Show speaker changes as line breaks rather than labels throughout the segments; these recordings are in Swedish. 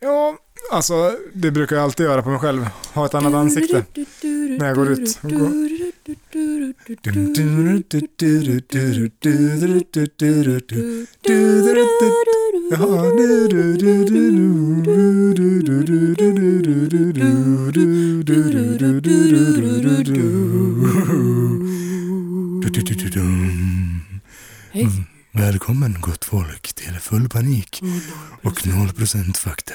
Ja, alltså det brukar jag alltid göra på mig själv. Ha ett annat ansikte. När jag går ut.
Hej.
Mm.
Välkommen gott folk till Full panik och 0% fakta.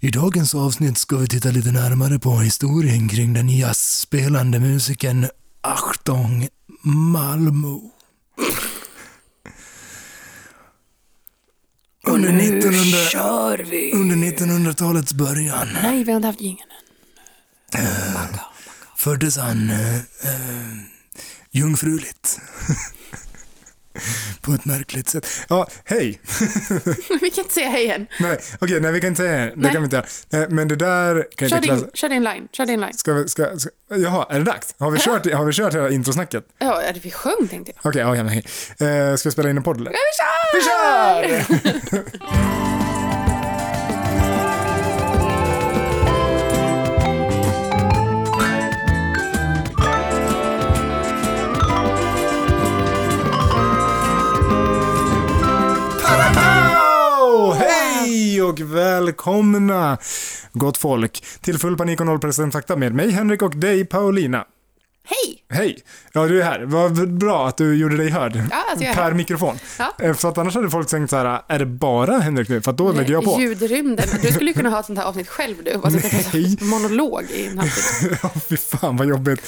I dagens avsnitt ska vi titta lite närmare på historien kring den jazzspelande musikern Achtung Malmö. Under, 1900,
kör vi!
under 1900-talets början
Nej, vi har inte haft jingeln än.
föddes han eh, eh, jungfruligt. På ett märkligt sätt.
Ja, hej!
vi kan inte säga hej än.
Nej, okej, nej vi kan inte säga det. Det
Nej.
kan vi inte göra. Nej, men det där kan
Kör
inte klassa...
din, kör din line, kör din line.
Ska vi, ska, ska, jaha, är det dags? Har vi kört, har vi kört hela introsnacket?
Ja, är det vi sjöng tänkte jag.
Okej, ja, ja, nej. Eh, ska vi spela in en podd eller?
Vi kör!
Vi kör! Parapau! Hej och välkomna gott folk till Full panik och noll procent fakta med mig Henrik och dig Paulina.
Hej!
Hej! Ja, du är här. Vad bra att du gjorde dig hörd.
Ja, alltså jag är
per
här.
mikrofon.
Ja.
Eh, För att annars hade folk tänkt så här, är det bara Henrik nu? För att då lägger jag på.
Ljudrymden. Du skulle ju kunna ha ett sånt här avsnitt själv du. Bara sitta och
Nej.
prata monolog i en halvtimme.
Ja, fy fan vad jobbigt.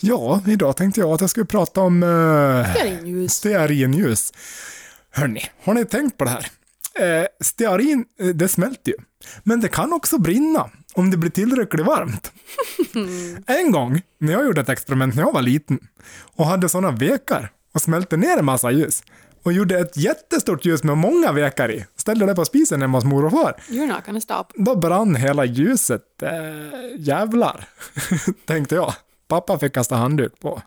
Ja, idag tänkte jag att jag skulle prata om eh,
Stearinljus.
stearinljus. Hörni, har ni tänkt på det här? Eh, stearin, eh, det smälter ju. Men det kan också brinna om det blir tillräckligt varmt. En gång när jag gjorde ett experiment när jag var liten och hade sådana vekar och smälte ner en massa ljus och gjorde ett jättestort ljus med många vekar i, ställde det på spisen hemma hos mor och far.
You're not gonna stop.
Då brann hela ljuset. Eh, jävlar, tänkte jag. Pappa fick kasta handduk på.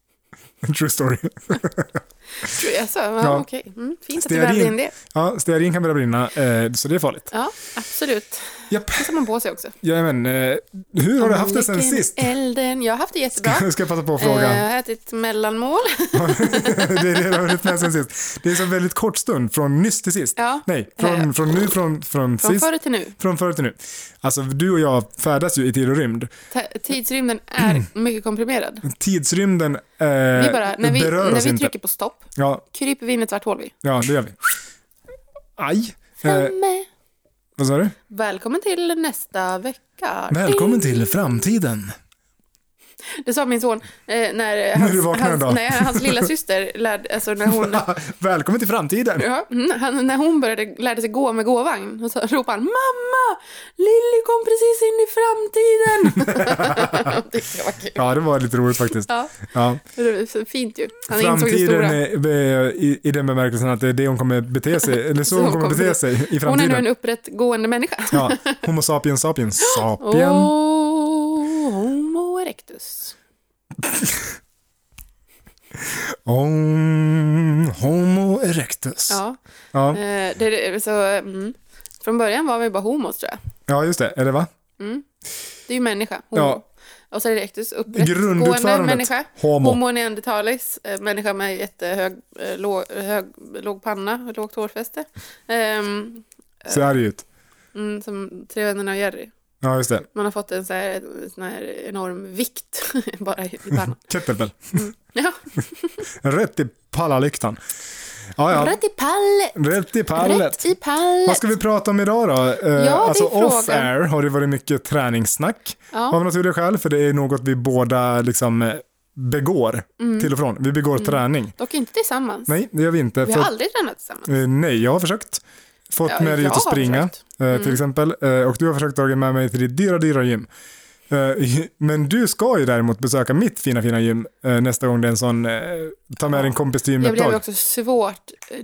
True story.
Tror jag så. Ja,
Ja.
Okej, mm, fint att du vävde in det.
Ja, stearin kan börja brinna, eh, så det är farligt.
Ja, absolut.
Japp.
Det tar man på sig också.
Jajamän, eh, hur har du haft det sen
Vilken
sist?
Elden. Jag har haft det jättebra.
Nu ska jag passa på att
Eh, Jag
fråga.
har ätit mellanmål.
det är det du har hunnit med sen sist. Det är så väldigt kort stund, från nyss till sist.
Ja.
Nej, från,
Eh.
från nu, från, från,
Från
sist.
förr till nu.
Från förr till nu. Alltså, du och jag färdas ju i tid och rymd.
T- Tidsrymden
Mm.
är mycket komprimerad.
Tidsrymden eh,
Vi bara, när vi,
berör
när
oss
vi
inte.
trycker på stopp
Ja,
kryper vi in i ett svart hål. Vi.
ja, det gör vi. Aj. Eh,
Framme.
vad sa du?
Välkommen till nästa vecka.
Välkommen till framtiden.
Det sa min son eh, när,
du
hans,
vaknade en dag.
hans, nej, hans lilla syster lärde, alltså när hon,
Välkommen till framtiden.
ja, mm, han, när hon började, lärde sig gå med gåvagn. Och så ropade han mamma, Lilly kom precis in i framtiden. det var kul.
Ja, det var lite roligt faktiskt.
Ja,
Ja.
det var så fint ju. Han insåg det
Framtiden
stora.
är, är- eh, i, i den bemärkelsen att det är det hon kommer bete sig, eller så hon kommer bete sig i
Hon är nu en
framtiden.
upprättgående människa.
Ja, homo sapiens sapiens
Åh,
sapien.
Homo erectus.
Om, homo erectus. Ja.
Ja,
Ja.
eh, det, det- så, mm. från början var vi bara homos tror jag.
just det. Eller va?
Det är ju människa, homo.
Ja.
Och så är det erectus, upprättgående
Grundutförandet.
människa.
Homo.
Homo neandertalis, eh, människa med jättehög eh, låg, hög, låg panna och lågt hårfäste. Ehm,
Så är det ju ut.
mm, som Tre vännerna och Jerry.
Ja, just det.
Man har fått en så här, en sån här enorm vikt bara i i pannan.
Kettlebell.
Ja.
Rätt i pallalyktan. Ja, ja.
Rätt i pallet!
Rätt i pallet.
Rätt i pallet!
Vad ska vi prata om idag då? Eh,
det är
alltså
frågan.
off-air har det varit mycket träningssnack
Ja.
av naturliga skäl, för det är något vi båda liksom eh, begår
Mm.
till och från. Vi begår träning.
Dock inte tillsammans.
Nej, det gör vi inte.
Vi
för
har
att-
aldrig tränat tillsammans.
Eh, Nej, jag har försökt. Fått
Ja,
med dig
jag
ut och
har
springa,
försökt. Mm.
eh, till exempel. Eh, och du har försökt dra med mig till ditt dyra, dyra gym. Eh, men du ska ju däremot besöka mitt fina, fina gym eh, nästa gång det är en sån, eh, ta med dig en kompis till
Jag
gymmet
blev
dag.
också svårt eh,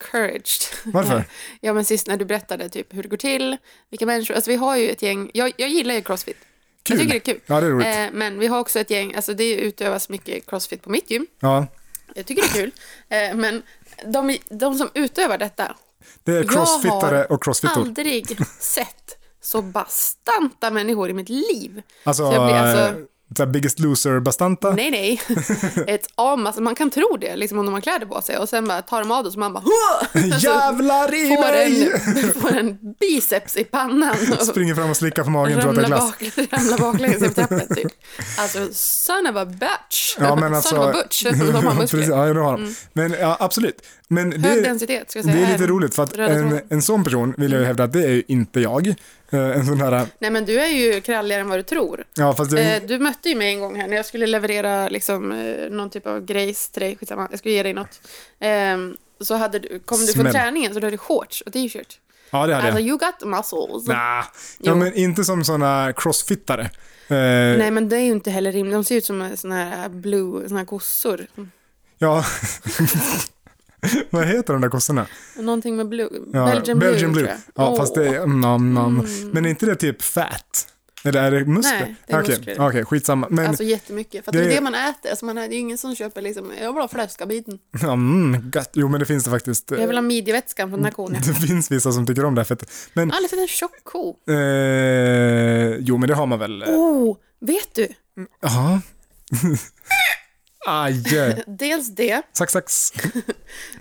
discouraged.
Varför?
ja, men sist när du berättade typ hur det går till, vilka människor, alltså vi har ju ett gäng, jag, jag gillar ju crossfit.
Kul.
Jag tycker det är kul.
Ja, det är roligt.
Eh, men vi har också ett gäng, alltså det utövas mycket crossfit på mitt gym.
Ja,
Jag tycker det är kul. Eh, men de, de som utövar detta,
Det är crossfittare och crossfittor.
aldrig sett så bastanta människor i mitt liv.
Alltså,
Så jag blir alltså-
eh, så här biggest loser-bastanta.
Nej, nej. Ett am, alltså man kan tro det liksom om de har kläder på sig och sen bara tar de av det så man bara "Hua!"
Jävlar i
alltså, får
mig!
en, får en biceps i pannan och
Springer fram och slickar på magen tror att det är
ramlar,
glass.
bak, ramlar baklänges i trappen typ. Alltså son of a bitch.
Ja, men alltså,
Son of a butch. De har muskler. Mm.
Precis, ja, de har de. Men ja, absolut. Men det,
Hög
är-
densitet ska jag säga.
det är
här.
lite roligt för att
röda
en,
tråden.
en sån person vill jag ju hävda att det är ju inte jag. Eh, En sån här,
Nej men du är ju kralligare än vad du tror.
ja fast jag,
Eh, du mötte ju mig en gång här när jag skulle leverera liksom, eh, någon typ av grejs till dig, skitsamma, jag skulle ge dig något. Ehm, så hade du, kom du
Smäll.
från träningen så du hade shorts och t-shirt.
ja det hade
Alltså
jag.
you got muscles.
Nah. Ja,
Jo.
men inte som såna crossfittare. Eh,
Nej men det är ju inte heller rimligt, de ser ut som eh, såna här blue, såna här kossor.
Ja. Vad heter de där kossorna?
Någonting med blue,
Ja,
Belgian, blue, tror jag. Mm.
Ja, fast det är... nom, nom. Men är inte det typ fat? Eller är det muskler?
Nej, det är
Okej,
muskler.
okej, skitsamma. Men,
Alltså jättemycket, för att det är
Det-
det man äter. Alltså, man, det är ju ingen som köper liksom, jag vill ha fläskabiten.
ja, mm, gott. Jo, men det finns det faktiskt. eh,
Jag vill ha midjevätskan från den här kon. Jag
Det finns vissa som tycker om det här fettet. Men,
har aldrig sett en tjock ko.
eh, jo men det har man väl.
Oh, vet du?
Jaha. Aj!
Dels det,
Sax, sax.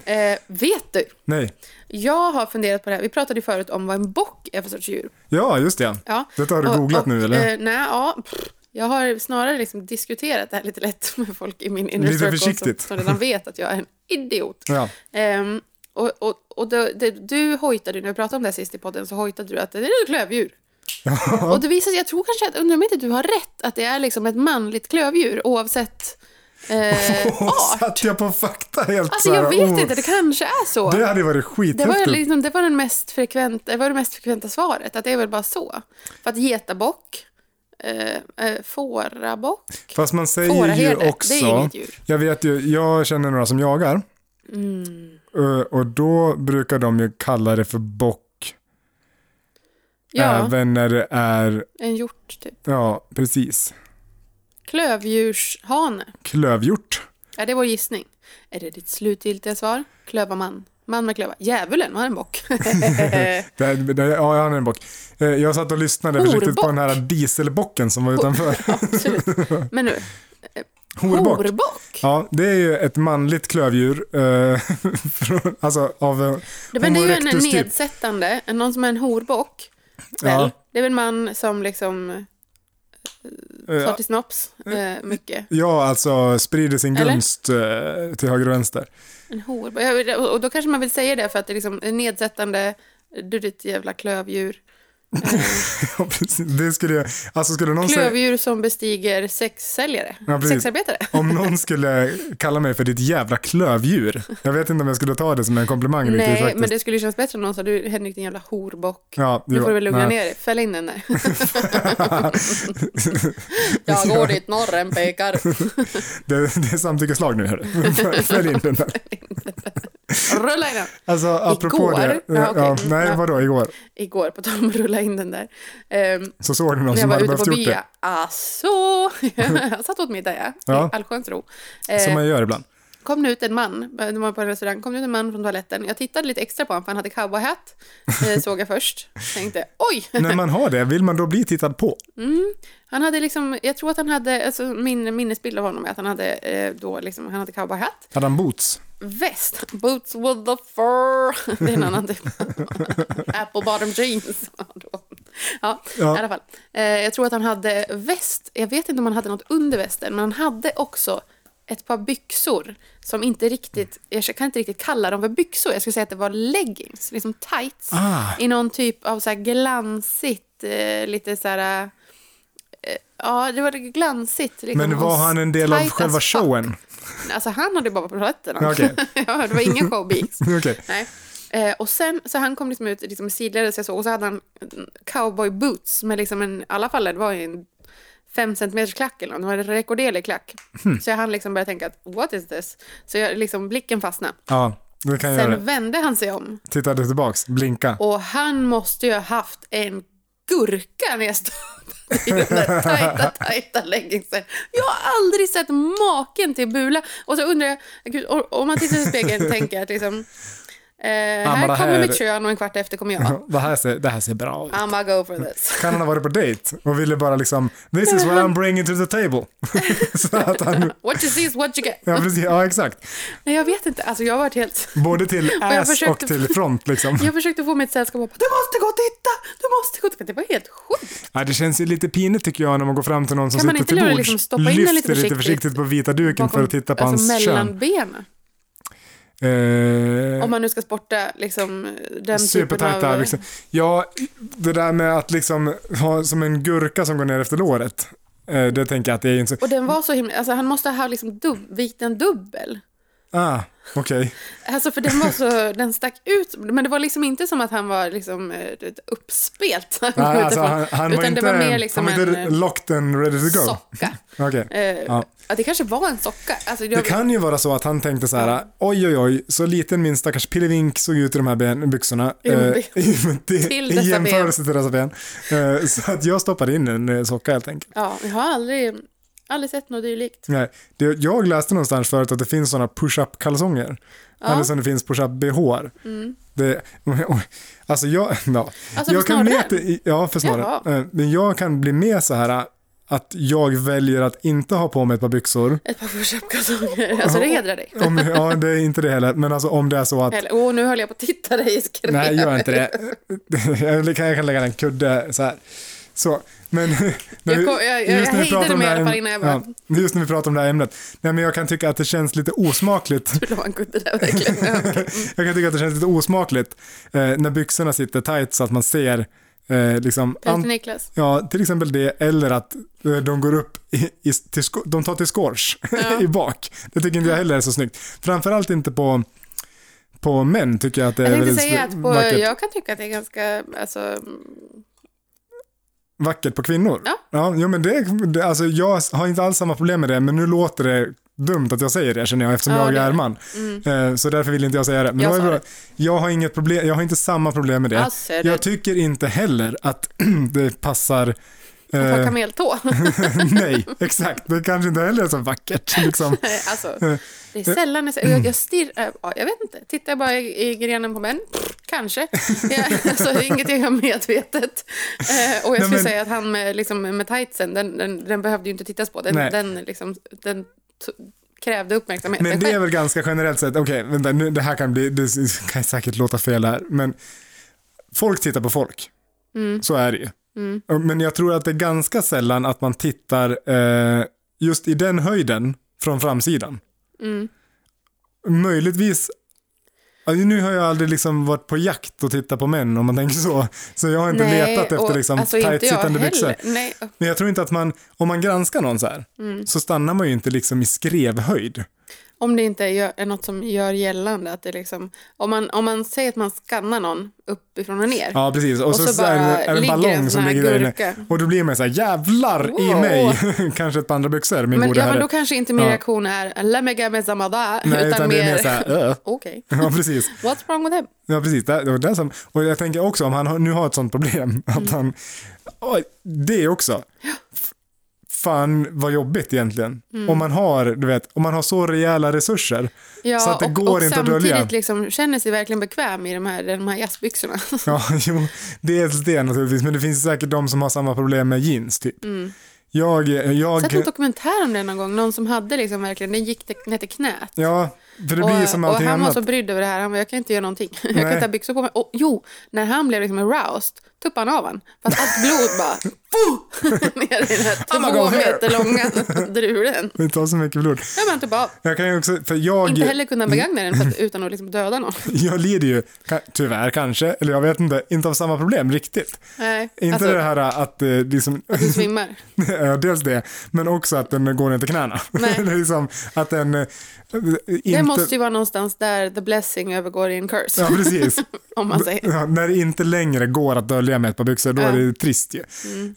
eh, vet du?
Nej.
Jag har funderat på det här. Vi pratade ju förut om vad en bock är för sorts djur.
Ja, just det.
Ja.
Detta har du googlat nu, eller?
Eh, nej, ja. pff, Jag har snarare liksom diskuterat det här lite lätt med folk i min inner
Lite
circle
försiktigt.
Som, som redan vet att jag är en idiot.
Ja.
Ehm, och och, och då, det, du hojtade, när vi pratade om det här sist i podden, så hojtade du att det är ett klövdjur. Och det visar sig, jag tror kanske att, undrar om inte du har rätt, att det är liksom ett manligt klövdjur oavsett eh, art.
Satt jag på fakta helt
Alltså
så
jag
här,
vet
oh.
inte, det kanske är så.
Det hade ju varit
Det var,
skithäftigt.
liksom, det, var den mest frekvent, det var det mest frekventa svaret, att det är väl bara så. För att getabock, eh, eh, fårabock,
Fast man säger
Fåraherde,
ju
det är
också...
inget djur.
Jag vet ju, jag känner några som jagar.
Mm.
Eh, Och då brukar de ju kalla det för bock.
ja,
Även när det är,
en hjort typ.
ja precis,
Klövdjurshane,
klövhjort.
ja, det är vår gissning. Är det ditt slutgiltiga svar? Klövarman, man med klöva. Djävulen, han är en bock.
Det, här- det, ja, han är en bock. Eh, Jag satt och lyssnade försiktigt på
Horbock.
den här dieselbocken som var utanför.
Absolut. Men nu,
Horbock.
horbock.
Ja, det är ju ett manligt klövdjur. eh, från- alltså av eh,
Det, men det är ju en
typ.
nedsättande, en- någon som är en horbock. Väl?
Ja.
Det är väl en man som liksom
Eh,
tar till snops eh, mycket.
Ja, alltså sprider sin
Eller?
gunst eh, till höger och vänster.
En horbock. Jag vet- Och då kanske man vill säga det för att det är liksom är nedsättande. Du ditt jävla klövdjur.
Ja, precis. det skulle jag, alltså skulle någon säga...
Klövdjur som bestiger sexsäljare.
Ja, precis.
Sexarbetare.
Om någon skulle kalla mig för ditt jävla klövdjur. Jag vet inte om jag skulle ta det som en komplimang riktigt
Nej,
faktiskt.
men det skulle ju kännas bättre om någon sa du Henrik din jävla horbock.
Ja,
Nu
jo,
får du väl lugna
nej.
ner dig. Fäll in den där. Jag går dit norren pekar.
Det, det är samtyckeslag nu hörru. Följ in den där.
Rulla in den.
Alltså apropå
Igår?
det.
Ja, okej. Mm,
nej,
ja.
vadå igår?
Igår, på tal om att rulla in den där. Ehm,
Så såg du någon
när jag
som
var
hade
ute
behövt
på
gjort
bya.
det.
Alltså, jag satt åt middag ja.
Ja.
I allsköns ro.
Som
Ehm,
man gör ibland.
kom det ut en man, det var på en restaurang, kom det ut en man från toaletten. Jag tittade lite extra på honom för han hade cowboyhatt, eh, såg jag först. Tänkte, oj!
När man har det, vill man då bli tittad på?
Han hade liksom, jag tror att han hade, alltså min minnesbild av honom är att han hade eh, då liksom, han hade cowboyhatt,
Hade han boots?
väst, boots with the fur, det är en annan typ. Apple bottom jeans. ja,
Ja.
i alla fall. Eh, jag tror att han hade väst, jag vet inte om han hade något under västen, men han hade också ett par byxor som inte riktigt, jag kan inte riktigt kalla dem för byxor, jag skulle säga att det var leggings, liksom tights
Ah.
i någon typ av så här glansigt, eh, lite så här, eh, ja det var glansigt. Liksom,
Men var
Och
han en del av
tight as
själva
fuck.
showen?
Alltså han hade ju bara varit på toaletten.
Okej.
ja, det var ingen showbiz.
Okej.
Nej. Eh, och sen, så han kom liksom ut liksom sidledes jag såg, och så hade han mm, cowboy boots med liksom en, i alla fall det var ju en fem centimeters klack eller något, det var en rekorderlig klack.
Hmm.
Så jag hann liksom börja tänka att what is this? Så jag liksom blicken fastnade.
Ja, det kan jag göra.
Sen vände han sig om
Tittade tillbaks, blinka.
och han måste ju ha haft en gurka när jag stoppade i den där tajta, tajta leggingsen. Jag har aldrig sett maken till bula. Och så undrar jag, gud, om man tittar i spegeln tänker jag att liksom, Eh,
men
här
det
kommer
här-
mitt kön och en kvart efter kommer jag.
Det här ser, det här ser bra ut.
I'm go for this.
Kan han ha varit på dejt och ville bara liksom, this is what I'm bringing to the table. Så att han,
What you see is what you get.
ja, precis, ja exakt.
Nej, jag vet inte. Alltså, jag har varit helt...
Både till
jag
ass och
försökte-
till front liksom.
Jag försökte få mitt sällskap att bara, du måste gå och titta! Du måste gå och titta! Det var helt sjukt.
Ja, det känns ju lite pinigt tycker jag när man går fram till någon som
Kan man
sitter
inte
till
göra det,
bords,
liksom, stoppa in den
lyfter
lite
lite försiktigt.
försiktigt
på vita duken för att titta på
alltså,
hans kön.
mellan benen.
Eh,
Om man nu ska sporta liksom, den typen av...
Supertajta liksom. Ja, det där med att liksom ha som en gurka som går ner efter låret. eh, Det tänker jag att det är inte så...
Och den var så himla... Alltså, han måste ha liksom dub... vikt en dubbel.
Ah, okej.
Alltså för den var så, den stack ut, men det var liksom inte som att han var liksom eh, uppspelt.
Nej, alltså, han, han var
utan
inte,
det var mer liksom
han var inte
en eh,
locked and ready to go.
socka.
Okej.
Eh,
Ja.
ja. Det kanske var en socka. Alltså, jag,
Det kan ju vara så att han tänkte så här, oj oj oj, så liten min stackars pillevink såg ut i de här ben, byxorna.
I de
eh,
ben-
i- men det-
till
I
dessa
jämförelse till dessa ben. Eh, så att jag stoppade in en eh, socka helt enkelt.
ja, jag har aldrig, aldrig sett något dylikt.
Nej, det, jag läste någonstans förut att det finns sådana push-up kalsonger. Eller som det finns push-up bh det, Alltså jag, ja.
Mm. Alltså,
jag
för
kan
snorren?
med, Ja, för snarare.
Jaha.
Eh, Men jag kan bli med så här eh, att jag väljer att inte ha på mig ett par byxor.
Ett par push-up-kalsonger. Alltså det hedrar dig.
Om, ja, det är inte det heller. Men alltså om det är så att
Eller, åh, nu höll jag på att titta dig i skrevet.
Nej, gör inte det. Jag kan, jag kan lägga en kudde så här. Så, men... när vi-
kom- jag- jag
just när vi
hejdade
pratar om
mig i
det här
alla
ämnet-
fall innan jag bara-
ja, Just när vi pratar om det här ämnet. Nej, men jag kan tycka att det känns lite osmakligt.
Hur långt kunde det verkligen?
jag kan tycka att det känns lite osmakligt eh, när byxorna sitter tight så att man ser eh, liksom...
Tack till
an-
Niklas.
ja, till exempel det, eller att eh, de går upp i, i, till sko- de tar till skors i bak. Det tycker inte jag heller är så snyggt. Framförallt inte på, på män tycker jag att det
Jag
är
tänkte
väldigt
säga
sl-
att på,
vackert.
jag kan tycka att det är ganska, alltså,
vackert på kvinnor.
Ja.
ja jo, men det, det, alltså, jag har inte alls samma problem med det, men nu låter det dumt att jag säger det känner jag eftersom
Ja,
jag
det- Mm.
är man. Eh, Så därför vill inte jag säga det. Men
Jag
jag,
sa
bra.
det.
jag har inget problem, jag har inte samma problem med det.
Jag ser det.
Jag tycker inte heller att det passar
att ha
eh,
kameltå.
nej, exakt. Det kanske inte heller är så vackert. Liksom.
Nej, alltså, det är sällan jag ser- jag,
Mm.
jag stirrar, ja, jag vet inte, tittar jag bara i, i grenen på män, kanske. Jag, alltså, det är inget jag gör medvetet. Eh, och jag skulle
men-
säga att han med, liksom, med tightsen, den, den, den behövde ju inte tittas på, den,
Nej.
den, liksom, den t- krävde uppmärksamhet.
Men
sig
det är
själv.
väl ganska generellt sett, okej, vänta, nu, det här kan bli, det kan säkert låta fel här, men folk tittar på folk.
Mm.
Så är det ju. Men jag tror att det är ganska sällan att man tittar eh, just i den höjden från framsidan.
Mm.
Möjligtvis ja, nu har jag aldrig liksom varit på jakt och tittat på män om man tänker så. Så jag har inte letat efter
och-
liksom,
alltså, inte jag
tajt sittande
heller.
byxor.
Nej,
Men jag tror inte att man, om man granskar någon så här,
Mm.
så stannar man ju inte liksom i skrevhöjd.
om det inte gör, är något som gör gällande att det liksom, om man, om man säger att man skannar någon uppifrån och ner,
Ja, precis. Och,
Och
så,
så
är det-
bara
är det en
ligger
ballong
en sån
som
här
ligger där inne.
gurka.
Och då blir man så här, jävlar i
Wow.
mig. Kanske ett par andra byxor, min
Men,
gode
ja, men
herre.
då kanske inte min
Ja.
reaktion är lämmiga med samada,
Nej, utan det är mer så här, "Äh."
okej,
Ja, precis.
what's wrong with him?
Ja, precis. Det, det var det som, och jag tänker också om han har, nu har ett sånt problem, att
Mm.
han... Oj, det också. F- Fan vad jobbigt egentligen.
Mm.
Om man har, du vet, om man har så rejäla resurser.
Ja,
Så att det
och,
går
och
inte att
samtidigt
dölja.
liksom känner sig verkligen bekväm i de här, de här jazzbyxorna.
Ja, jo, dels det naturligtvis, men det finns säkert de som har samma problem med jeans, typ.
Mm.
Jag, jag...
Jag sett någon dokumentär om det någon gång, någon som hade liksom verkligen, den gick till- ner till knät.
Ja, för det blir ju
och,
som
och
allting
han var
annat.
så brydd över det här, han bara, jag kan inte göra någonting. Jag kan
Nej.
inte ha byxor på mig. Och, jo, när han blev liksom aroused, tuppade han av han. För att allt blod bara, fuh, ner i den
I'mma
här
go
två
here.
meter långa drulen.
Det tar så mycket blod.
Ja, men han tuppade "Typ av.
Jag kan ju också, för jag,
Inte heller kunde han begagna den för att, utan att liksom döda någon.
jag lider ju, ka- tyvärr kanske, eller jag vet inte, inte av samma problem riktigt.
Nej,
Inte
alltså,
det här att eh, liksom,
du svimmar.
ja, dels det, men också att den går ner till knäna.
Nej.
liksom, att den eh, inte...
Det måste ju vara någonstans där the blessing övergår i en curse,
Ja, precis.
om man säger.
Ja, när det inte längre går att dölja med ett par byxor, då är
Ja. Mm.
det trist ju.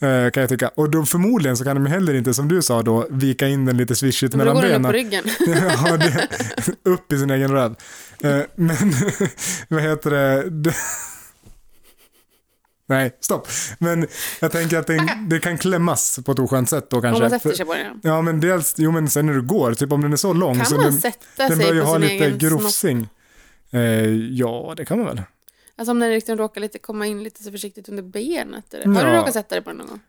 Eh, Kan jag tycka. Och då, förmodligen så kan de heller inte, som du sa då, vika in den lite swishigt
Men
mellan
då går den
benen.
upp på ryggen.
ja, det, upp i sin egen röv. Eh, Men, vad heter det? Det- Nej, stopp. Men jag tänker att det, det kan klämmas på ett oskönt sätt då
Om
kanske.
man sätter sig på den.
Ja, men dels, jo men sen när du går, typ om den är så lång
Kan
så
man
den,
sätta
den
sig
bör ju
på
ha
sin
lite
egen
grofsing. Eh, ja, det kan man väl.
Alltså om den liksom råkar lite komma in lite så försiktigt under benet. Eller? Har du
Ja.
råkat sätta dig på den någon gång?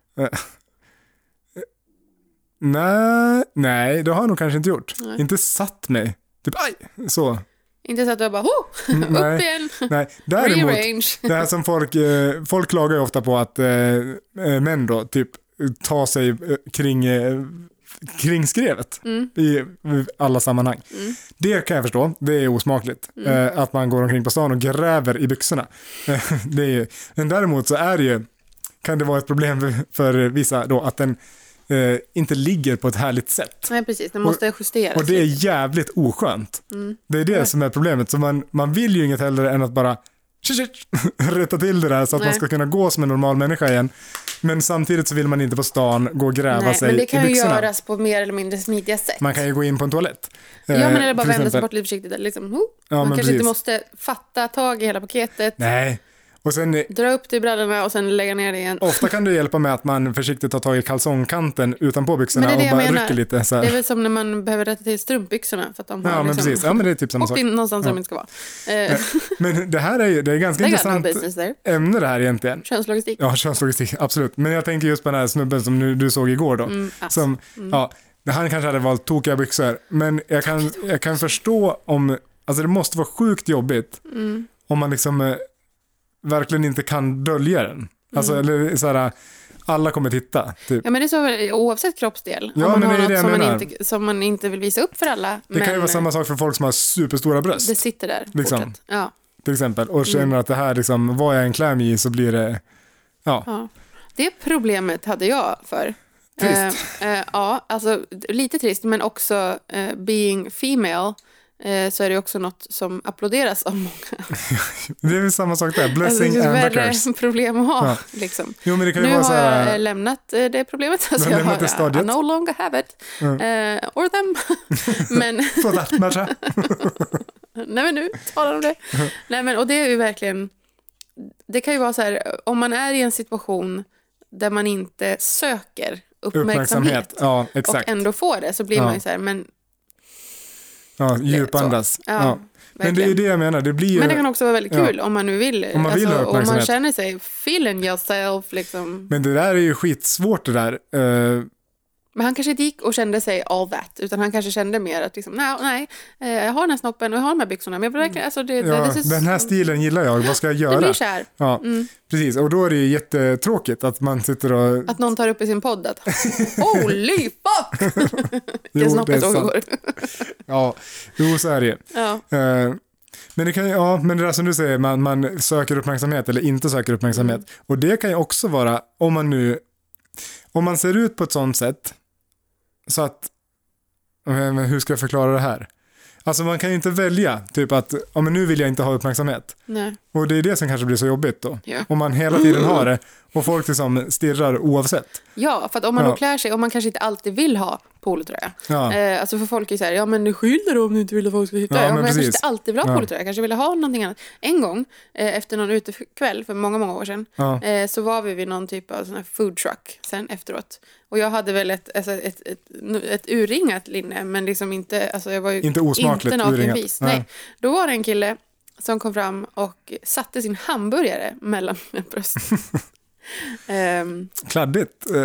Nej, nej, det har jag nog kanske inte gjort.
Nej.
Inte satt mig. Typ aj, så.
Inte så att du bara ho!
Mm,
Upp
nej,
igen!
nej. Däremot,
Rearrange!
det här som folk, eh, folk klagar ju ofta på att eh, eh, män då, typ tar sig eh, kring, eh, kring skrevet
Mm.
i eh, alla sammanhang.
Mm.
Det kan jag förstå, det är osmakligt. Eh, att man går omkring på stan och gräver i byxorna. Eh, det är ju, men däremot så är det ju, kan det vara ett problem för, för vissa då att den eh, inte ligger på ett härligt sätt.
Nej precis, den måste justeras.
Och det
lite.
är jävligt oskönt.
Mm.
Det är det som är problemet. Så man, man vill ju inget hellre än att bara tsch, tsch, rätta till det där så att man
Nej.
ska kunna gå som en normal människa igen. Men samtidigt så vill man inte på stan gå och gräva
Nej,
sig
men det
i
kan ju
byxorna.
göras på mer eller mindre smidiga sätt.
Man kan ju gå in på en toalett. Eh,
ja, men eller bara
till
vända sig
exempel.
bort lite försiktigt. Eller liksom, ho.
Ja,
man
men
kanske inte
precis.
måste fatta tag i hela paketet,
Nej, och sen eh,
dra upp det i brallorna och sen lägga ner det igen.
ofta kan det hjälpa med att man försiktigt tar tag i kalsongkanten utanpå byxorna
Men det är det
och
jag
bara
menar.
rycker lite. Så här.
Det är väl som när man behöver rätta till strumpbyxorna för att de har
Ja, men
liksom,
precis. Ja, men det är typ samma
åkt
sak.
in någonstans där de inte ska vara. Eh,
Men det här är ju, det är ganska
det är grann
intressant
business där.
ämne det här egentligen.
Könslogistik.
Ja, könslogistik, absolut. Men jag tänker just på den här snubben som nu, du såg igår då.
Mm, ass.
Som, ja, han kanske hade valt tokiga byxor, men jag kan, jag kan förstå om, alltså det måste vara sjukt jobbigt
Mm.
om man liksom eh, verkligen inte kan dölja den. Alltså,
Mm.
eller så här, alla kommer titta, typ.
Ja, men det är så oavsett kroppsdel.
Ja,
om man
men
har
det är det
något
jag
som man,
menar.
inte, som man inte vill visa upp för alla.
Det
men eh,
kan ju vara samma sak för folk som har superstora bröst,
det sitter där.
liksom.
fortsatt. Ja,
till exempel, och känner
Mm.
att det här, liksom, vad jag än klär mig i så blir det, ja,
ja. Det problemet hade jag för.
Trist.
Eh, eh, ja, alltså d- lite trist, men också eh, being female eh, så är det också något som applåderas av många.
det är väl samma sak där,
Alltså, det
blessing
är
and a
värre
curse.
problem att ha.
Ja.
Liksom.
Jo, men det kan ju
Nu
vara så
har
här,
jag eh, lämnat eh, det problemet. Alltså,
har
jag
lämnat
har,
det stadiet.
I no longer have it. Eh, or them. men
så där, matcha.
Nej men nu talar om det. Nej men och det är ju verkligen, det kan ju vara så här, om man är i en situation där man inte söker uppmärksamhet,
Uppmärksamhet, ja exakt.
och ändå får det så blir
Ja.
man ju så här, men
Ja,
så.
djupandas.
Ja,
Ja, Men det är
verkligen.
ju det jag menar, det blir ju...
Men det kan också vara väldigt
Ja.
kul om man nu vill, alltså,
Om man vill ha
om man
uppmärksamhet.
känner sig feeling yourself liksom.
men det där är ju skitsvårt det där. Eh,
Men han kanske inte gick och kände sig all that, utan han kanske kände mer att liksom, nej, nej eh, jag har den här snoppen och jag har de här byxorna, men jag vill verkligen, alltså det, det,
Mm. ja,
det, det,
den här stilen gillar jag, vad ska jag göra?
det blir så här.
Ja,
Mm.
precis. Och då är det ju jättetråkigt att man sitter och...
Att någon tar upp i sin podd att holy fuck!
Jo,
Det är snoppet
sant.
åker.
Ja, jo så är det ju.
Ja.
Eh, men det kan ju, ja, men det där som du säger, man, man söker uppmärksamhet eller inte söker uppmärksamhet.
Mm.
Och det kan ju också vara, om man nu, om man ser ut på ett sånt sätt, så att, eh, men hur ska jag förklara det här? Alltså man kan ju inte välja, typ att, ja men nu vill jag inte ha uppmärksamhet.
Nej.
Och det är det som kanske blir så jobbigt då.
Ja.
Om man hela tiden har det och folk liksom stirrar oavsett.
ja, för att om man då
Ja.
klär sig, om man kanske inte alltid vill ha polotröja.
Ja,
Eh, alltså för folk är så här, ja men skyll dig då om du inte vill att folk ska titta. Ja,
Ja,
men
men
jag kanske
precis.
inte alltid vill ha
Ja.
polotröja, jag kanske vill ha någonting annat. En gång, eh, efter någon utekväll för många, många år sedan,
ja.
eh, så var vi vid någon typ av sån här food truck sen efteråt. Och jag hade väl ett, alltså ett, ett, ett urringat linne, men liksom inte, alltså jag var ju
Inte osmakligt
inte
urringat.
nakenvis. Nej.
Nej.
Då var det en kille som kom fram och satte sin hamburgare mellan mina bröst. Ehm,
Kladdigt. Eh,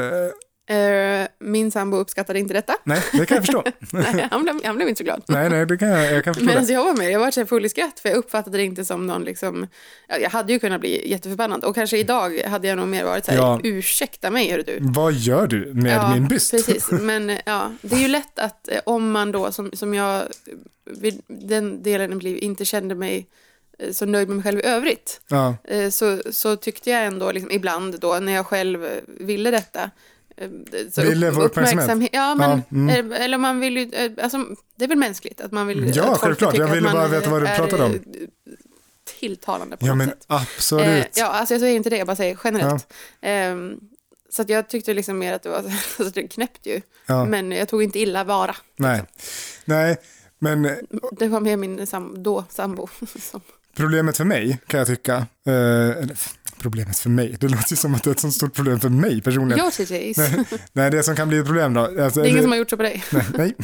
eh, min sambo uppskattade inte detta.
nej, det kan jag förstå.
Nej, han, blev, han blev inte så glad.
nej, nej, det kan jag, jag kan förstå
Medan
det.
jag var med, jag var så här full i skratt för jag uppfattade det inte som någon liksom, ja, jag hade ju kunnat bli jätteförbannad och kanske idag hade jag nog mer varit så här,
Ja.
ursäkta mig hör du.
Vad gör du med min byst?
Precis, men eh, ja, det är ju lätt att eh, om man då, som, som jag, eh, vid den delen i mitt liv inte kände mig eh, så nöjd med mig själv i övrigt,
Ja.
eh, så, så tyckte jag ändå liksom, ibland då när jag själv eh, ville detta, eh, så
Ville få uppmärksamhet.
Ja, men,
Ja, mm.
eh, eller man vill ju, eh, alltså, det är väl mänskligt att man vill
Ja,
att folk ska
självklart.
tycka
Jag
att
ville
man
bara veta vad du
är,
pratade om.
eh, Tilltalande på
Ja
något
men
sätt.
absolut.
Eh, ja, alltså jag säger inte det, jag bara säger generellt. Ehm, så att jag tyckte liksom mer att det var alltså, det knäppt ju.
Ja.
Men jag tog inte illa vara.
Nej. Nej, men eh,
Det var mer min sam- då sambo. som-
problemet för mig kan jag tycka, eh, eller f- problemet för mig. Det låter ju som att det är ett sånt stort problem för mig personligen.
Your titties.
Nej, det som kan bli ett problem då. Alltså,
Det är ingen
eller-
som har gjort så på dig.
Nej, nej,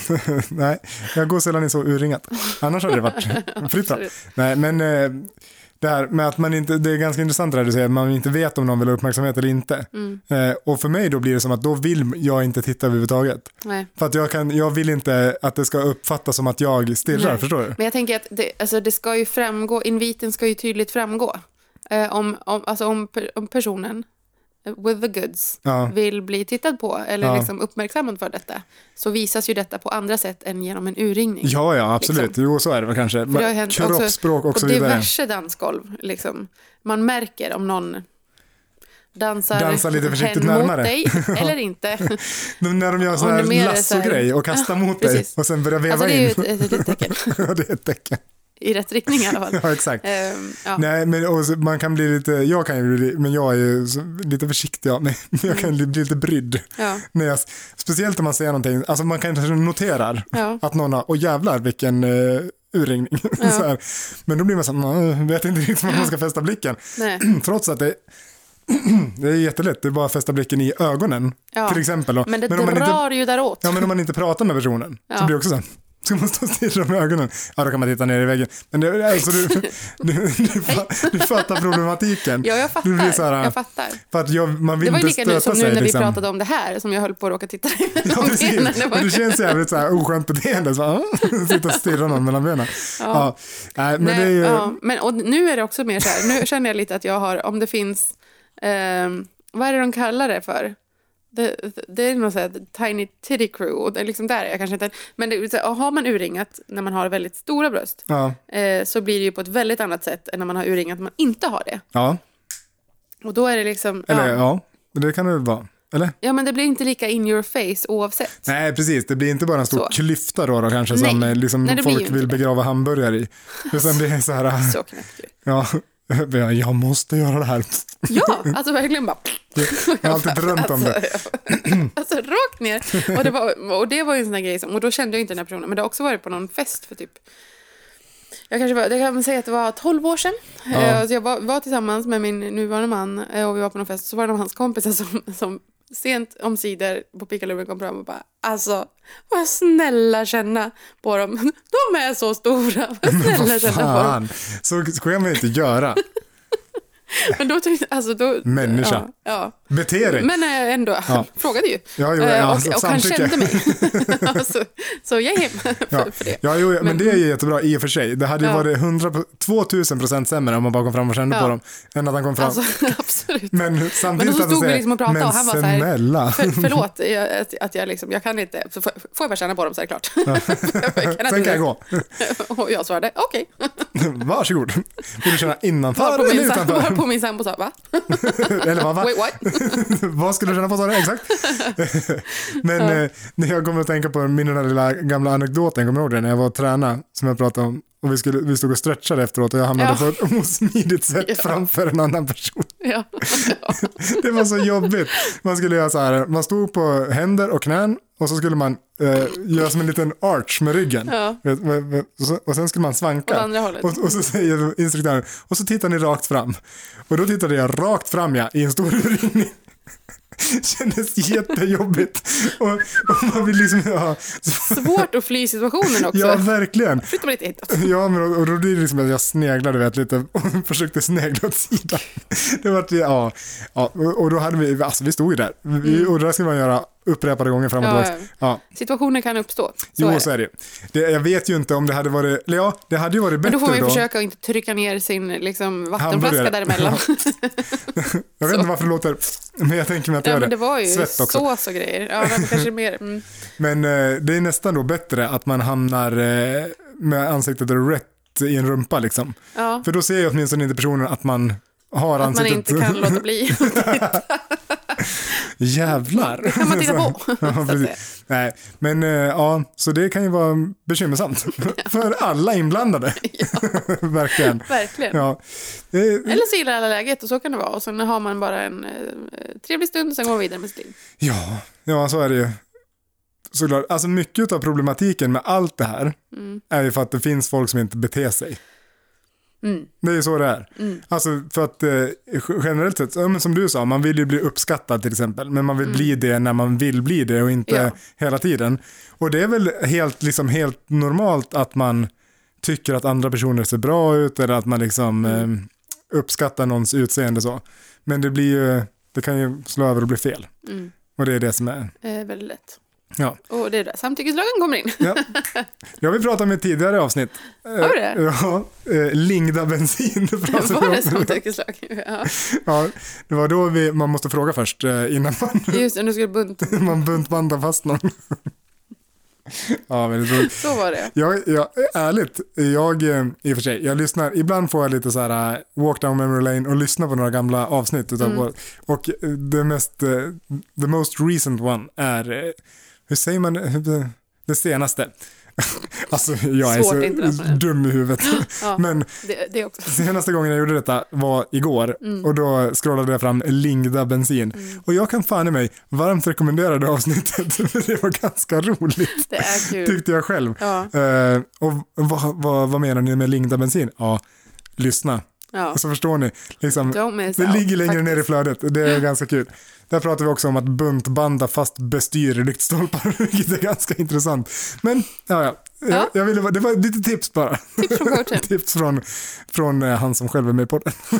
nej, jag går sällan i så urringat. Annars hade det varit fritt fram.
Absolut.
Nej, men eh, det här med att man inte, det är ganska intressant det här du säger, att man inte vet om någon vill ha uppmärksamhet eller inte.
Mm.
Eh, och för mig då blir det som att då vill jag inte titta överhuvudtaget.
Nej.
För att jag, kan, jag vill inte att det ska uppfattas som att jag stirrar,
Nej.
förstår du?
Men jag tänker att det, alltså det ska ju framgå, inviten ska ju tydligt framgå. Eh, om, om, alltså om, per- om personen, eh, with the goods,
Ja.
vill bli tittad på eller
Ja.
liksom uppmärksammad för detta, så visas ju detta på andra sätt än genom en urringning.
Ja, ja, absolut.
Liksom.
Jo, så är det väl kanske.
För det har
Men
hänt alltså,
Kroppsspråk
också
och så
På
vidare.
diverse dansgolv. Liksom. Man märker om någon dansar,
Dansar lite försiktigt
hen
närmare.
mot dig eller inte. Alltså,
Men När de gör sån
Om
här
det mer är så här-
lasso-grej och kastar mot dig
precis.
och sen börjar veva
alltså, det är
in.
ju ett, ett litet tecken.
Ja, det är ett tecken.
I rätt riktning i alla fall.
Ja, exakt.
Ehm, ja.
Nej, men och så- man kan bli lite, jag kan ju bli, men jag är ju så- lite försiktig av mig. Men Jag kan bli bli lite brydd.
Mm. Ja.
När jag, speciellt om man säger någonting, alltså man kanske noterar
Ja.
att någon har, och jävlar vilken uh, urringning. så här. Men då blir man så här, "Mm, vet inte riktigt var man ska fästa blicken.
Nej.
Trots att det, det är jättelätt, det är bara att fästa blicken i ögonen.
Ja.
Till exempel. då.
Men det
om man inte-
drar ju däråt.
Ja, men om man inte pratar med personen så
Ja.
blir det också så här. Ska man stå och stirra med ögonen? Ja, då kan man titta ner i väggen. Men det, alltså, du, du, du, fa- du fattar problematiken.
Ja, jag
Det
fattar.
blir så här,
jag fattar.
För att jag, man vill
Det var ju
inte
lika
stöta
nu som
sig.
nu när vi
liksom.
pratade om det här som jag höll på att råka titta dig mellan
Ja,
benen.
precis.
Det var-
Och det känns jävligt så här oskönt beteende. Så, här, sitta och stirra någon mellan benen. Ja. Nej, men
Nej,
det är ju...
ja. men, och nu är det också mer så här, nu känner jag lite att jag har, om det finns, ehm, vad är det de kallar det för? Det, det är nog så här, tiny titty crew, och det är liksom där är jag kanske inte, men det, är så här, har man urringat när man har väldigt stora bröst
Ja.
eh, så blir det ju på ett väldigt annat sätt än när man har urringat när man inte har det.
ja.
Och då är det liksom,
Eller
ja,
ja. det kan det väl vara. Eller?
ja men det blir inte lika in your face oavsett.
Nej, precis. Det blir inte bara en stor
Så.
klyfta då, då kanske som
Nej.
eh, liksom,
Nej, det blir ju
folk
inte
vill
det.
begrava hamburgare i. Utan det är så här...
Så knäppt ju.
Ja, jag- jag måste göra det här.
Ja, alltså verkligen bara...
Jag har alltid drömt om det.
Alltså, alltså rakt ner. Och det, var, och det var ju en sån där grej som, och då kände jag inte den här personen, men det har också varit på någon fest för typ jag kanske var, jag kan säga att det var 12 år sedan.
Ja.
Eh, så jag var, var tillsammans med min nuvarande man eh, och vi var på någon fest. Så var det någon av hans kompisar som, som sent omsider på pickaluren kom fram och bara alltså, vad snälla känna på dem. De är så stora, vad snälla
Vad
känna på
fan,
dem.
så ska man inte göra.
Men då tyckte, alltså då...
Människa.
Ja, ja.
Bete dig.
Men eh, ändå, han frågade ju.
Ja, jo,
Eh,
ja, alltså,
och och han
samtycke.
kände mig. så, så jag är för,
Ja,
typ för det.
ja jo, men,
Men-
det är ju jättebra i och för sig. Det hade ju
Ja.
varit 100, 2000 procent sämre om man bara kom fram och kände
Ja.
på dem, än att han kom fram.
Alltså, absolut.
men
Men då
samtidigt
så
att han
stod vi
säger,
liksom och pratade
men
och han var så här,
snälla.
för, förlåt jag, att, att jag liksom, jag kan inte, så får, får jag bara känna på dem så är det klart.
Sen kan jag gå.
och jag svarade okej.
Varsågod. Vill du känna innanför
Varpå
eller
min sam-
utanför?
Varpå min sambo sa va?
Eller vad, va?
Wait what?
Vad skulle du känna på sa du? Exakt. Men eh, när jag kommer att tänka på min den där lilla gamla anekdoten, kommer du ihåg det? När jag var och tränade, som jag pratade om. Och vi, skulle, vi stod och stretchade efteråt och jag hamnade
Ja.
på ett osmidigt sätt
Ja.
framför en annan person.
Ja.
Det var så jobbigt. Man skulle göra så här, man stod på händer och knän och så skulle man eh, göra som en liten arch med ryggen.
Ja.
Vet- vet- vet- och så- Och sen skulle man svanka.
Åt andra hållet.
Och, och så säger instruktören, och så tittar ni rakt fram. Och då tittade jag rakt fram ja, i en stor urringning. Kändes jättejobbigt. Och, och man vill liksom, ja,
Svårt att fly situationen också.
ja verkligen.
Flytta mig lite hitåt.
Ja, men och, och då blir det liksom att jag sneglade vet, lite och försökte snegla åt sidan. Det var, ja, ja, och och då hade vi, alltså vi stod ju där. Vi, Och det där skulle man göra upprepade gånger fram och
Mm. Ja,
tillbaka. Ja.
Situationer kan uppstå. Så är
Jo,
det.
så är det. ju. det. Jag vet ju inte om det hade varit, eller ja, det hade ju varit
Men
bättre
då får man ju
då.
försöka att inte trycka ner sin liksom,
Hamburgare.
vattenflaska däremellan.
Jag vet inte varför det låter, men jag tänker mig att det
Ja,
gör
men det var ju
Svett också.
sås och grejer. Ja, men kanske mer. Mm.
Men eh, det är nästan då bättre att man hamnar eh, med ansiktet rätt i en rumpa liksom.
Ja,
För då ser ju åtminstone inte personen att man har
att man
ansiktet...
inte kan låta bli.
Jävlar!
Det kan man titta på.
Ja,
så att
precis.
säga.
Nej, men eh, ja, så det kan ju vara bekymmersamt för alla inblandade. Verkligen.
Verkligen.
Ja. Eh,
Eller så gillar alla läget och så kan det vara. Och sen har man bara en eh, trevlig stund och sen går man vidare med sitt liv.
ja, ja, så är det ju. Såklart, alltså mycket av problematiken med allt det här är ju för att det finns folk som inte beter sig. Det är ju så det är. Alltså för att eh, generellt sett, ja, men som du sa, man vill ju bli uppskattad till exempel. Men man vill bli det när man vill bli det och inte
Ja.
hela tiden. Och det är väl helt, liksom, helt normalt att man tycker att andra personer ser bra ut eller att man liksom eh, uppskattar någons utseende så. Men det blir ju, det kan ju slå över och bli fel. Och det är det som är,
Eh, väldigt lätt.
ja.
Och det är där samtyckeslagen kommer in.
Ja. Jag vill prata om ett tidigare avsnitt.
Har du det?
Ja, eh, Lingda bensin. Det pratade vi
Var
om.
det samtyckeslag? Ja.
Ja, det var då vi, man måste fråga först eh, innan man,
Just det, nu ska du bunt.
man buntbandar fast någon. Ja, väldigt roligt.
Så var det.
Jag, jag, ärligt, jag, eh, i och för sig, jag lyssnar, ibland får jag lite så här eh, walk down memory lane och lyssna på några gamla avsnitt
Mm.
utav vår, och eh, det mest, eh, the most recent one är, eh, hur säger man, eh, det senaste. Alltså jag är
Svårt
så
internationellt.
dum i huvudet.
Ja.
Men
Det, det också.
Senaste gången jag gjorde detta var igår
Mm.
och då scrollade jag fram Lingda bensin. Och jag kan fan i mig varmt rekommendera det avsnittet för det var ganska roligt
Det är kul.
tyckte jag själv.
Ja,
Eh, och vad, vad, vad menar ni med Lingda bensin? Ja, lyssna.
ja.
Och så förstår ni, liksom,
Don't miss
Alltså, det
out,
ligger längre ner i
faktiskt. Mm.
flödet. Det är ganska kul. Där pratar vi också om att buntbanda fast bestyr lyktstolpar, vilket är ganska intressant. Men, ja, ja. Jag,
Ja.
jag ville, bara- det var lite tips bara.
Tips från coachen.
Tips från, från eh, han som själv är med på podden.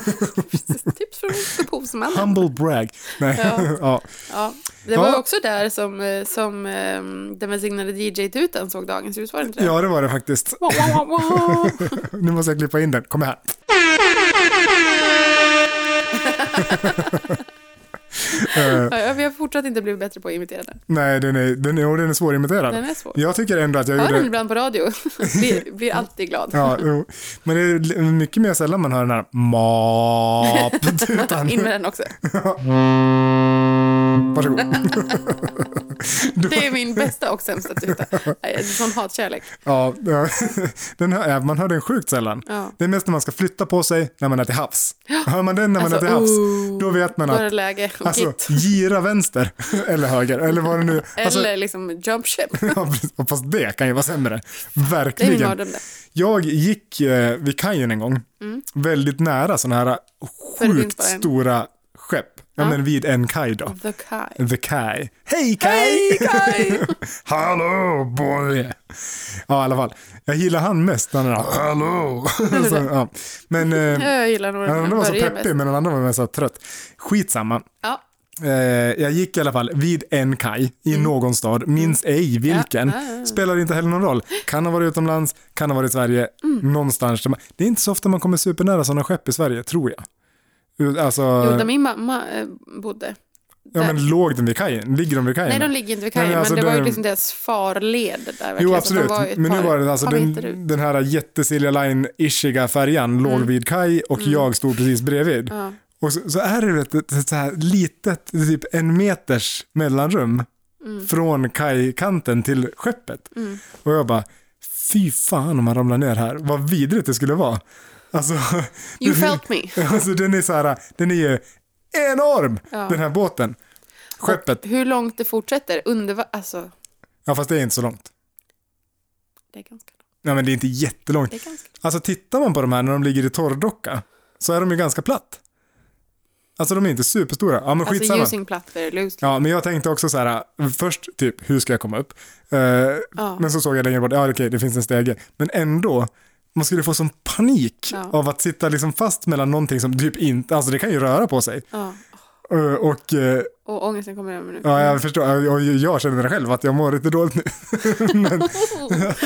Tips från upphovsmannen.
Humble brag. Nej. Ja.
Ja. Ja, det var
Ja.
ju också där som, eh, som eh, den välsignade DJ-tutan såg dagens ljus, var det inte det?
ja, det var det faktiskt.
Wow, wow, wow, wow.
Nu måste jag klippa in den. Kom här.
Ja, ja, vi har fortsatt inte blivit bättre på att imitera den.
Nej, den är, den är, och den är svårimiterad.
Den är svår.
Jag tycker ändå att jag
Hör den
gjorde...
ibland på radio. blir, blir alltid glad.
Ja, jo. men det är mycket mer sällan man hör den här map
In med den också.
Varsågod.
Det är min bästa och sämsta tuta. Nej, det är Sån hatkärlek.
Ja, ja. den hör, ja, man hör den sjukt sällan.
Ja.
Det är mest när man ska flytta på sig när man är till havs. Hör man den när man
Alltså,
är till havs,
oh.
då vet man
Då är det
att
läge och
alltså,
hit.
gira vänster eller höger. Eller vad det nu alltså,
Eller liksom jump ship.
ja, precis. Och Fast det kan ju vara sämre.
Det är min
Verkligen.
mardröm det. Mm.
Jag gick eh, vid kajen en gång, väldigt nära sådana här
För det finns
sjukt
bara en.
stora skepp. Ja,
Ja.
men vid en kaj då.
The Kai.
The Kai. Hej Kai!
Hej Kai!
Hallå boy! Ja, i alla fall. Jag gillar han mest. Han är hallå. så, ja. Men eh,
Jag gillar nog
den
den
andra var så
börjar
peppig,
mest.
men den andra var mer så här trött. Skitsamma.
Ja,
Eh, jag gick i alla fall vid en kaj i någon stad, minns ej vilken.
Mm. Ja, ja, ja.
Spelar inte heller någon roll. Kan ha varit utomlands, kan ha varit i Sverige,
Mm.
någonstans. där man- Det är inte så ofta man kommer supernära sådana skepp i Sverige, tror jag. Ut- Alltså,
jo, där min mamma eh, bodde.
ja, men låg den vid kajen? Ligger de vid kajen?
Nej, de ligger inte vid
Nej,
kajen,
men
men,
alltså
det, var ju
den-
liksom deras farled där. verkligen.
Jo,
Så att de
absolut.
var ju ett
men nu
par-
var det alltså
par meter ut.
den,
Mm.
den här jättesilja line-ishiga färjan låg vid kaj och jag stod precis bredvid.
Ja.
Och så, så är det ett, ett, ett så här litet, typ en meters mellanrum
Mm.
från kajkanten till skeppet. Och jag bara, fy fan om man ramlar ner här, vad vidrigt det skulle vara. Alltså,
You felt me.
alltså den är så här, den är ju enorm,
Ja.
den här båten. Skeppet,
Och hur långt det fortsätter under... Alltså,
ja fast det är inte så långt.
det är ganska långt.
Nej men det är inte jättelångt.
Det är ganska långt.
Alltså tittar man på de här när de ligger i torrdocka så är de ju ganska platt. Alltså de är inte superstora. Ja men
Alltså,
skitsamma.
using plattor, loosely.
Ja men jag tänkte också så här, först typ hur ska jag komma upp? Eh,
Ja.
Men så såg jag längre bort, ja okej det finns en stege. Men ändå, man skulle få sån panik
Ja.
av att sitta liksom fast mellan någonting som typ inte, alltså det kan ju röra på sig.
Ja.
Eh, och eh,
Och ångesten kommer över nu.
ja, jag förstår, jag, jag, jag känner det själv att jag mår lite dåligt nu.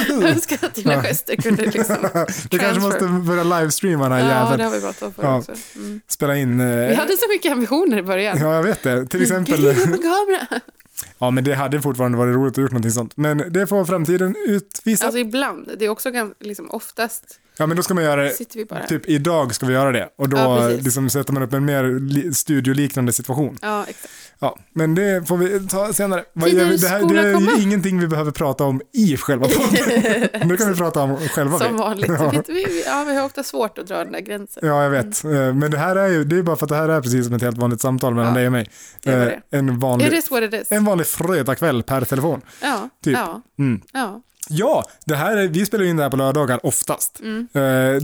Jag önskar att dina gester kunde liksom...
Du kanske måste börja livestreama den här
Ja, det
jäveln,
har vi pratat om förut
Ja.
också. Mm.
spela in. eh,
Vi hade så mycket ambitioner i början.
Ja, jag vet det. Till exempel...
Gud, en kamera!
Ja, men det hade fortfarande varit roligt att gjort någonting sånt. Men det får framtiden utvisa.
Alltså ibland, det är också ganska, liksom oftast
ja, men då ska man göra det.
sitter vi bara...
Typ idag ska vi göra det. Och då
Ja, precis.
liksom, sätter man upp en mer li- studioliknande situation.
Ja, exakt.
Ja, men det får vi ta senare. Vad
Tiden
gör vi? Det, här, det
skola
är
komma.
ju ingenting vi behöver prata om i själva podden. nu kan vi prata om själva
Som
vi.
vanligt.
Ja.
Vi, vi, ja, vi har ofta svårt att dra den där gränsen.
Ja, jag vet. Eh, Men det här är ju, det är bara för att det här är precis som ett helt vanligt samtal mellan
Ja,
dig och mig.
det var
Eh,
det.
En
It
vanlig,
is what it is.
en vanlig fredagkväll per telefon.
Ja,
typ.
ja,
Mm.
ja.
Ja, det här är, vi spelar in det här på lördagar oftast. Eh, det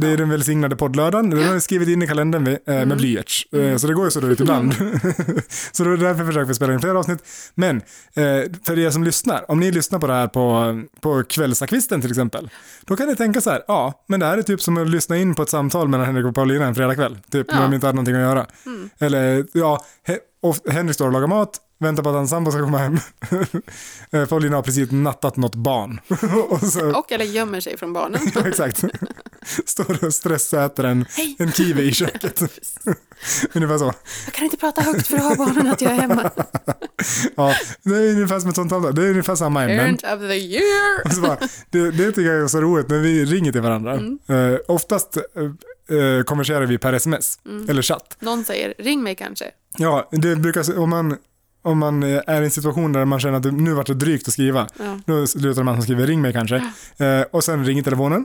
är den välsignade poddlördagen. Den har vi skrivit in i kalendern vi, eh, med blyerts. Eh, så det går ju så ut ibland. så det är därför försöker vi spela in fler avsnitt. Men eh, för er som lyssnar, om ni lyssnar på det här på, på kvällsakvisten till exempel, då kan ni tänka så här, ja, men det här är typ som att lyssna in på ett samtal mellan Henrik och Paulina en fredagkväll, typ när
Ja.
de inte hade någonting att göra. Eller, ja, he, och Henrik står och lagar mat, väntar på att hans sambo ska komma hem. Eh, Paulina har precis nattat något barn. och så,
Och eller gömmer sig från barnen.
exakt. Står och stressäter en,
Hej!
en kiwi i köket. ungefär så.
Jag kan inte prata högt för att ha barnen att jag är hemma.
Ja, det är ungefär som ett sånt samtal. Det är ungefär samma ämnen.
Parent of the year!
Och så bara, det, det tycker jag är så roligt när vi ringer till varandra. Eh, oftast eh, eh, konverserar vi per sms eller chatt.
Någon säger, ring mig kanske.
Ja, det brukar, om man, om man eh, är i en situation där man känner att det- nu vart det drygt att skriva,
Ja,
då slutar man som skriver ring mig kanske. Eh, och sen ringer telefonen,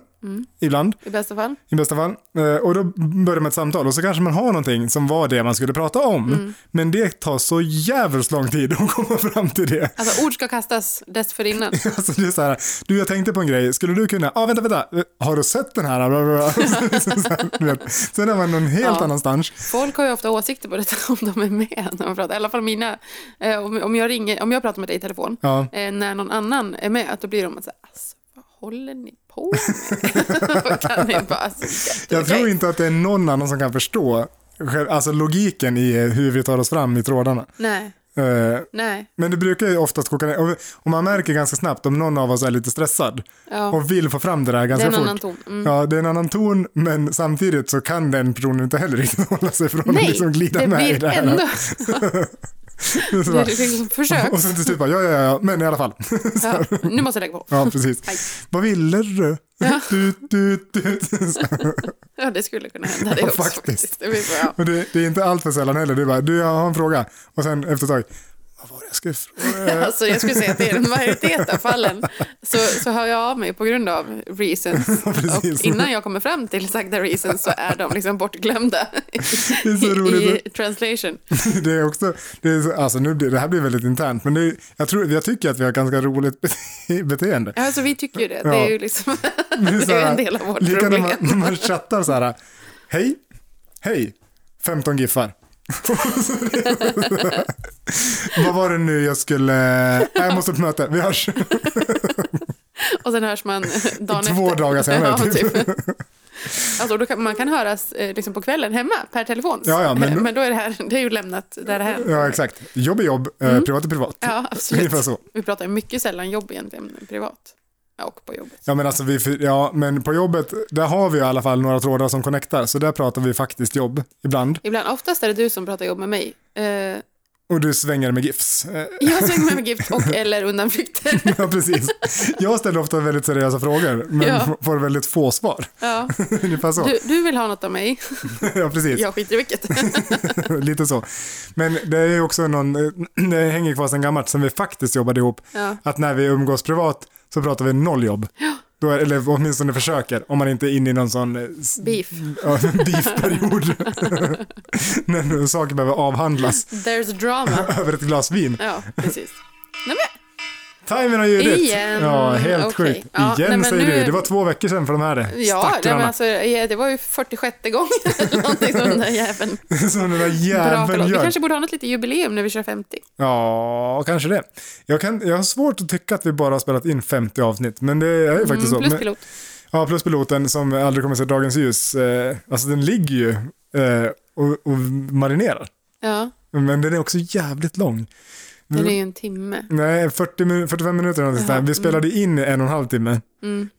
ibland.
I bästa fall.
I bästa fall. Eh, Och då börjar man ett samtal och så kanske man har någonting som var det man skulle prata om. Men det tar så jävligt lång tid att komma fram till det.
Alltså ord ska kastas dessförinnan.
Alltså det är så här, du jag tänkte på en grej, skulle du kunna, ja ah, vänta vänta, Eh, har du sett den här? Bla, bla, bla. så här, du vet. Sen är man någon helt
Ja.
annanstans.
Folk har ju ofta åsikter på detta om de är med när man pratar. I alla fall mina. Eh, om, om, jag ringer, om jag pratar med dig i telefon,
Ja.
eh, när någon annan är med, att då blir de så här, alltså, vad håller ni på med? kan ni bara, alltså,
Jag tror inte att det är någon annan som kan förstå själv- alltså logiken i hur vi tar oss fram i trådarna.
Nej,
Eh,
nej.
Men det brukar ju oftast koka ner, och- och man märker ganska snabbt om någon av oss är lite stressad
Ja.
och vill få fram det där
Det är
ganska
en annan
fort.
ton. Mm.
Ja, det är en annan ton, men samtidigt så kan den personen inte heller riktigt hålla sig från att
Nej,
liksom glida
det
med i
blir
det här.
ändå...
Så
Det är
bara,
liksom försök.
och sen till slut bara, ja, ja, ja, men i alla fall.
Ja, nu måste jag lägga på.
Ja, precis.
Aj.
Vad ville du? Du, du, du.
Ja, det skulle kunna hända det
Ja,
också
faktiskt.
faktiskt. Det blir bra.
Och det, det är inte allt för sällan heller, du bara, du, jag har en fråga. Och sen efter ett tag, vad var det jag skulle fråga?
Alltså, jag skulle säga att i en majoritet av fallen så, så hör jag av mig på grund av reasons.
precis.
Och innan jag kommer fram till sagda reasons så är de liksom bortglömda
Det är så
i,
roligt.
i translation.
Det är också, det, är, så- alltså nu blir, det här blir väldigt internt, men det, är- jag, tror, jag tycker att vi har ett ganska roligt bete- beteende.
Alltså, vi tycker ju det. Det är ju liksom
Det är
det
så
är ju
här,
en del av vårt
lika när
problem.
man, när man chattar så här, hej, hej, 15 giffar. Vad var det nu jag skulle, nej, jag måste på ett möte, vi hörs.
Och sen hörs man dagen
Två
efter.
dagar senare,
Ja,
typ.
typ. Alltså, då kan, man kan höras eh, liksom på kvällen hemma per telefon.
Ja, ja, men-
då är det här, det är ju lämnat där det här.
Ja exakt, jobb är jobb, eh, privat är privat.
Mm. Ja, absolut.
Ungefär så.
Vi pratar ju mycket sällan jobb egentligen, privat. Ja, och på jobbet.
Ja men, alltså vi, ja men på jobbet, där har vi i alla fall några trådar som connectar, så där pratar vi faktiskt jobb ibland.
Ibland, oftast är det du som pratar jobb med mig. Eh,
Och du svänger med GIFs. Eh,
jag svänger med mig gift och eller undanflykter.
Ja, precis. Jag ställer ofta väldigt seriösa frågor, men
Ja.
får väldigt få svar.
Ja.
Ungefär så.
Du, du vill ha något av mig,
Ja, precis.
jag skiter i vilket.
Lite så. Men det är ju också någon, eh, det hänger kvar sedan gammalt, som vi faktiskt jobbade ihop.
Ja.
Att när vi umgås privat så pratar vi noll jobb. Då, är- eller åtminstone försöker, om man inte är inne i någon sån eh, s-
Beef.
ja, beefperiod. när saker behöver avhandlas
There's drama.
över ett glas vin.
Ja, precis. Nej, men,
Timern har ljudit.
Igen.
Ja, helt
Okej.
sjukt.
Ja, nej,
Igen
men
säger
nu-
du. Det var två veckor sedan för de här det.
ja, nej,
Stackarna.
men alltså, eh, det var ju 46 gången eller någonting som den där jäveln.
Som den där
alltså, Bra, förlåt.
jäveln
Vi
gör.
kanske borde ha något litet jubileum när vi kör 50.
Ja, kanske det. Jag, kan, jag har svårt att tycka att vi bara har spelat in 50 avsnitt, men det är ju faktiskt
Mm,
så.
plus
Men-
pilot.
Ja, plus piloten som aldrig kommer att se dagens ljus. Eh, alltså den ligger ju eh, och, och marinerar.
Ja,
Men den är också jävligt lång. Mm.
den är ju en timme.
Nej, 40 min 45 minuter eller någonting sånt där. Vi spelade
mm.
in en och en halv timme.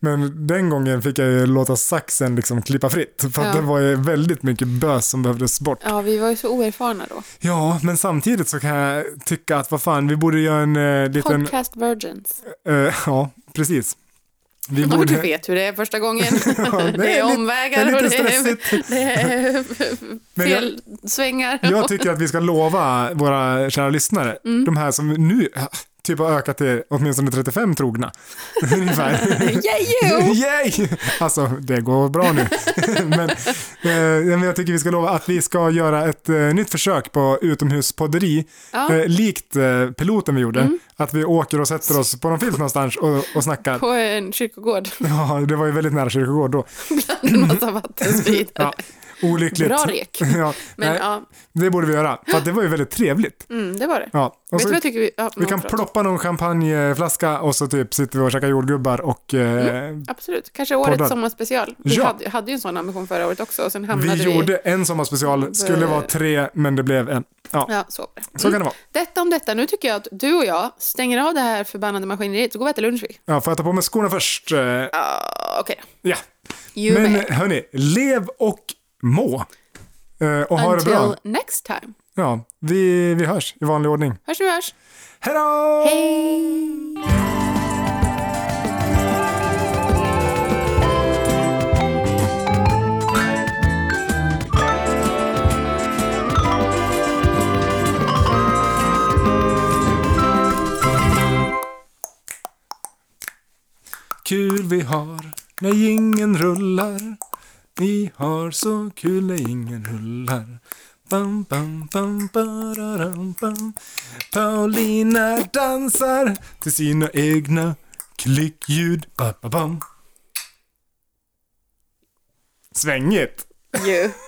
Men den gången fick jag ju låta saxen liksom klippa fritt. För att
Ja.
det var ju väldigt mycket bös som behövdes bort.
Ja, vi var ju så oerfarna då.
Ja, men samtidigt så kan jag tycka att vad fan, vi borde göra en eh, liten...
Podcast virgins.
Eh, ja, precis. Vi
Ja, du
borde...
vet hur det är första gången.
Ja,
Det är
lite-
omvägar
det är
och
lite
det
stressigt.
är, det är
Men jag,
fel svängar. Mm.
jag tycker att vi ska lova våra kära lyssnare, de här som nu, typ har ökat till åtminstone 35 trogna. Ungefär.
Yeah, you!
Yay! Alltså, det går bra nu. men, eh, men jag tycker vi ska lova att vi ska göra ett eh, nytt försök på utomhuspodderi,
Ja. Mm.
eh, likt eh, piloten vi gjorde. Att vi åker och sätter oss på någon filt någonstans och, och snackar.
På en kyrkogård.
Ja, det var ju väldigt nära kyrkogård då.
Bland en massa vattenspridare.
Ja, olyckligt.
Bra rek.
ja,
Men
nej,
ja,
Det borde vi göra, för att det var ju väldigt trevligt.
mm, det var det.
Ja, och
Vet du
så,
vad jag tycker vi... Ja,
vi
men
kan
förlåt.
ploppa någon champagneflaska och så typ sitter vi och käkar jordgubbar och eh,
Mm. Absolut, kanske årets
Poddar.
sommarspecial. Vi
Ja.
hade, hade ju en sån ambition förra året också och sen
vi
hamnade vi...
gjorde en sommarspecial, skulle vara tre men det blev en. Ja,
Ja, så. var det. Mm.
så kan det vara.
Detta om detta. Nu tycker jag att du och jag stänger av det här förbannade maskineriet så går vi och äter lunch vi.
Ja, får jag ta på mig skorna först? Eh,
Ja, Ah, Okej.
Ja.
You
Men eh,
may.
hörni, lev och må. Eh, och ha det bra.
Until next time.
Ja, vi, vi hörs i vanlig ordning.
Hörs nu hörs.
Hej då!
Hej!
Kul vi har när ingen rullar. Vi har så kul när ingen rullar. Bam, bam, bam, bararam, bam. Paulina dansar till sina egna klickljud. Ba, ba, bam. Svängigt!
You.